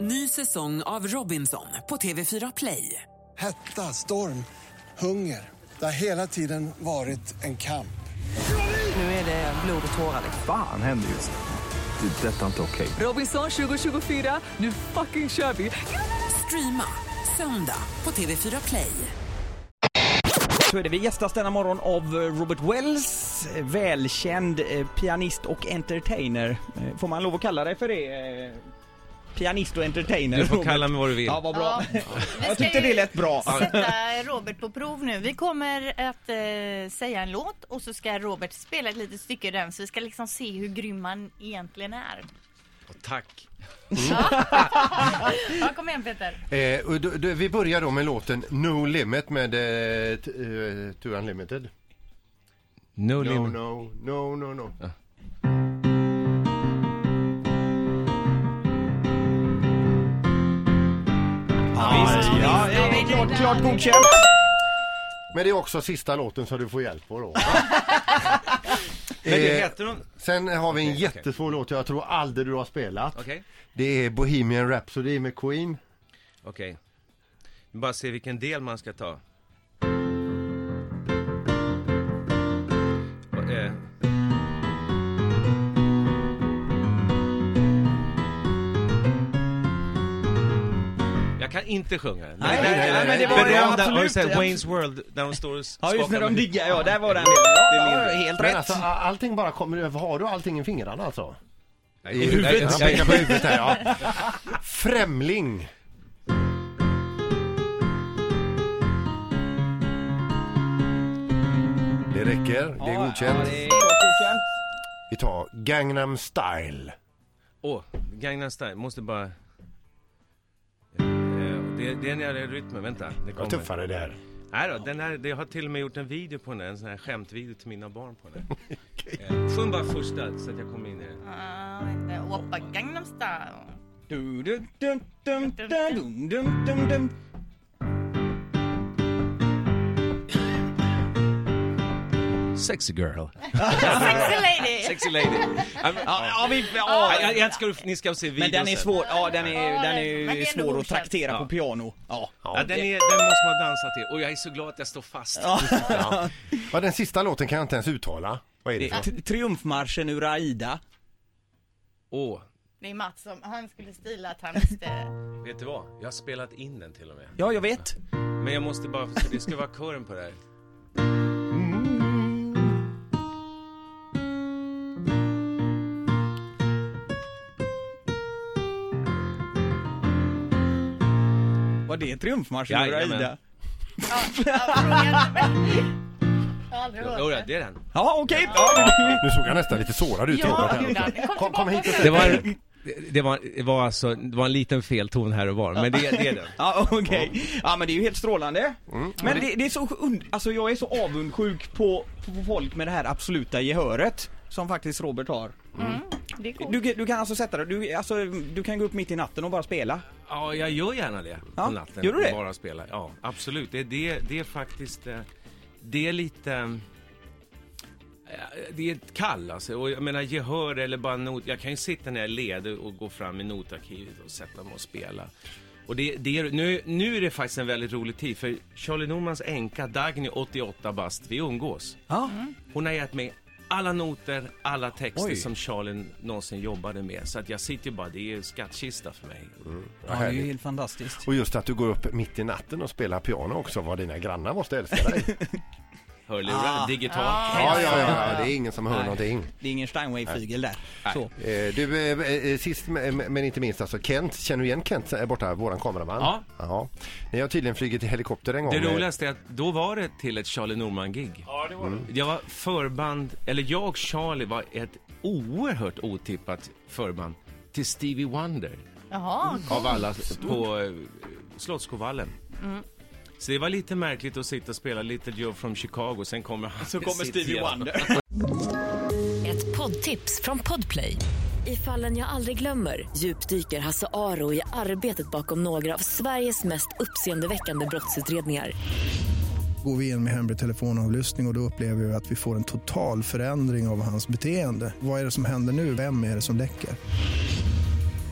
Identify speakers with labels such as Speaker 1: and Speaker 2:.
Speaker 1: Ny säsong av Robinson på TV4 Play.
Speaker 2: Hetta, storm, hunger. Det har hela tiden varit en kamp.
Speaker 1: Nu är det blod och tårar.
Speaker 3: Fan händer just nu. Det. är Detta är inte okej.
Speaker 1: Robinson 2024, nu fucking kör vi! Streama söndag på TV4 Play.
Speaker 4: Så är det. Vi gästas denna morgon av eh, Robert Wells, eh, välkänd eh, pianist och entertainer. Eh, Får man lov att kalla dig för det? eh, Pianist och entertainer?
Speaker 5: Du får
Speaker 4: Robert?
Speaker 5: kalla mig vad du vill.
Speaker 4: Ja, vad bra.
Speaker 6: Vi
Speaker 4: Jag
Speaker 6: ska
Speaker 4: tyckte
Speaker 6: ju
Speaker 4: det lät bra.
Speaker 6: Sätta Robert på prov nu. Vi kommer att eh, säga en låt och så ska Robert spela ett litet stycke ur den. Så vi ska liksom se hur grym man egentligen är.
Speaker 5: Tack. Mm.
Speaker 6: Ja, kom igen Peter.
Speaker 7: Eh, och då, då, vi börjar då med låten No Limit med eh, t- eh, Two Unlimited.
Speaker 5: No,
Speaker 7: No,
Speaker 5: limit.
Speaker 7: no, no, no, no.
Speaker 4: Ja, ja, ja, klart, klart godkänt.
Speaker 7: Men det är också sista låten som du får hjälp på då.
Speaker 5: Men det
Speaker 7: Eh,
Speaker 5: heter hon...
Speaker 7: Sen har vi en
Speaker 5: Okej,
Speaker 7: jättesvår låt jag tror aldrig du har spelat.
Speaker 5: Okej.
Speaker 7: Det är Bohemian Rhapsody med Queen.
Speaker 5: Okej. Vi bara se vilken del man ska ta. Och, eh, Jag kan inte sjunga. Men
Speaker 4: Nej,
Speaker 5: det
Speaker 4: nej,
Speaker 5: är
Speaker 4: nej, men det var-
Speaker 5: berömda,
Speaker 4: absolut,
Speaker 5: har du sett
Speaker 4: absolut.
Speaker 5: Wayne's World, där de står och
Speaker 4: Ja,
Speaker 5: skakar
Speaker 4: just när de
Speaker 5: med-
Speaker 4: diggar, ja, där var den delen. Ja, det är helt
Speaker 7: Men
Speaker 4: rätt.
Speaker 7: alltså a- allting bara kommer, har du allting i fingrarna alltså?
Speaker 5: Nej,
Speaker 7: I
Speaker 5: nej,
Speaker 7: huvudet?
Speaker 5: jag-
Speaker 7: Han pekar på huvudet här ja. Främling. Det räcker, det är
Speaker 4: Ja,
Speaker 7: godkänt.
Speaker 4: Ja, det är klart godkänt.
Speaker 7: Vi tar Gangnam style.
Speaker 5: Åh, Gangnam Style, måste bara... Eh, Det, det är när det är rytmen, vänta. Det
Speaker 7: Vad
Speaker 5: kommer.
Speaker 7: tuffare det här.
Speaker 5: Nej då, den här, det- jag har till och med gjort en video på den, här, en sån här skämtvideo till mina barn på den. Eh, Sjung bara första så att jag kommer in i det.
Speaker 6: Ah, vänta. Oppa Gangnam Style.
Speaker 4: Du, du, dum, dum, dum, dum, dum, dum. Ah.
Speaker 5: Sexy girl.
Speaker 6: Sexy lady.
Speaker 5: Sexy lady. Ja, men-
Speaker 4: Ja, ja, vi...
Speaker 5: Ja,
Speaker 4: Ja,
Speaker 5: jag, jag ska, ni ska se videon
Speaker 4: men den är
Speaker 5: sen.
Speaker 4: svår, ja den är,
Speaker 6: Ja,
Speaker 4: den är
Speaker 6: men det
Speaker 4: ju
Speaker 6: är nog
Speaker 4: svår att
Speaker 6: godkänt.
Speaker 4: traktera på piano. Ja.
Speaker 5: Ja, den, är, den måste man dansa till. Och jag är så glad att jag står fast.
Speaker 7: Ja, den sista låten kan jag inte ens uttala. Vad är det för något?
Speaker 4: T- Triumfmarschen ur Aida.
Speaker 5: Åh,
Speaker 6: Det är Mats som, han skulle stila att han visste.
Speaker 5: vet du vad? Jag har spelat in den till och med.
Speaker 4: Ja, jag vet.
Speaker 5: Men jag måste bara, för det ska vara kören på det här.
Speaker 4: Var det triumfmarschen ur
Speaker 5: Jajamän.
Speaker 4: Aida?
Speaker 6: Ja, ja, fråga inte mig. Jag har aldrig hört
Speaker 5: Jo,
Speaker 6: det.
Speaker 5: det är den.
Speaker 4: Ja, okej. Ja, men-
Speaker 7: Nu såg jag nästan lite sårad ut Robert.
Speaker 6: Ja, det
Speaker 7: här.
Speaker 6: gjorde han. Kom
Speaker 7: Kom, kom hit och
Speaker 5: Det var, en, det- det, var, det, var alltså, det var en liten felton här och var, men det, det är den.
Speaker 4: Ja, okej. Ja, men det är ju helt strålande. Men det, det är så und- alltså jag är så avundsjuk på, på folk med det här absoluta gehöret. Som faktiskt Robert har.
Speaker 6: Det är coolt.
Speaker 4: Du, du kan alltså sätta dig, du, alltså, du kan gå upp mitt i natten och bara spela.
Speaker 5: Ja, jag gör gärna det
Speaker 4: Ja,
Speaker 5: på natten.
Speaker 4: gör du
Speaker 5: och
Speaker 4: det?
Speaker 5: Bara spela. Ja, absolut. Det, det, det är faktiskt... eh, Det är lite... eh, Det är ett kall alltså. Och jag menar gehör eller bara not. Jag kan ju sitta när jag är ledig och gå fram i notarkivet och sätta mig och spela. Och det, det är, nu, nu är det faktiskt en väldigt rolig tid för Charlie Normans änka Dagny, 88 bast, vi umgås.
Speaker 4: Ja.
Speaker 5: Hon har gett mig alla noter, alla texter
Speaker 4: Oj.
Speaker 5: som Charlie någonsin jobbade med. Så att jag sitter ju bara, det är ju skattkista för mig.
Speaker 4: Ja, det är ju helt fantastiskt.
Speaker 7: Och just att du går upp mitt i natten och spelar piano också, vad dina grannar måste älska dig.
Speaker 5: Hörlurar, digital.
Speaker 7: Ja, ja, ja, det är ingen som hör någonting.
Speaker 4: Det är ingen Steinway-flygel där. Så.
Speaker 7: Eh, du, eh, eh, sist men men inte minst alltså Kent, känner du igen Kent är borta, våran kameraman?
Speaker 5: Ja.
Speaker 7: ja. Ni har tydligen flugit i helikopter en gång.
Speaker 5: Det roligaste är att då var det till ett Charlie Norman-gig. Ja, det var det. Jag var förband, eller jag och Charlie var ett oerhört otippat förband till Stevie Wonder.
Speaker 6: Jaha,
Speaker 5: Av alla på eh, Slottsskovallen. Så det var lite märkligt att sitta och spela Little Joe from Chicago, sen kommer han
Speaker 4: Så
Speaker 5: med
Speaker 4: kommer
Speaker 5: sitt
Speaker 4: Stevie
Speaker 5: genom.
Speaker 4: Wonder.
Speaker 8: Ett poddtips från Podplay. I fallen jag aldrig glömmer djupdyker Hasse Aro i arbetet bakom några av Sveriges mest uppseendeväckande brottsutredningar.
Speaker 9: går vi in med hemlig telefonavlyssning och, och då upplever vi att vi får en total förändring av hans beteende. Vad är det som händer nu? Vem är det som läcker?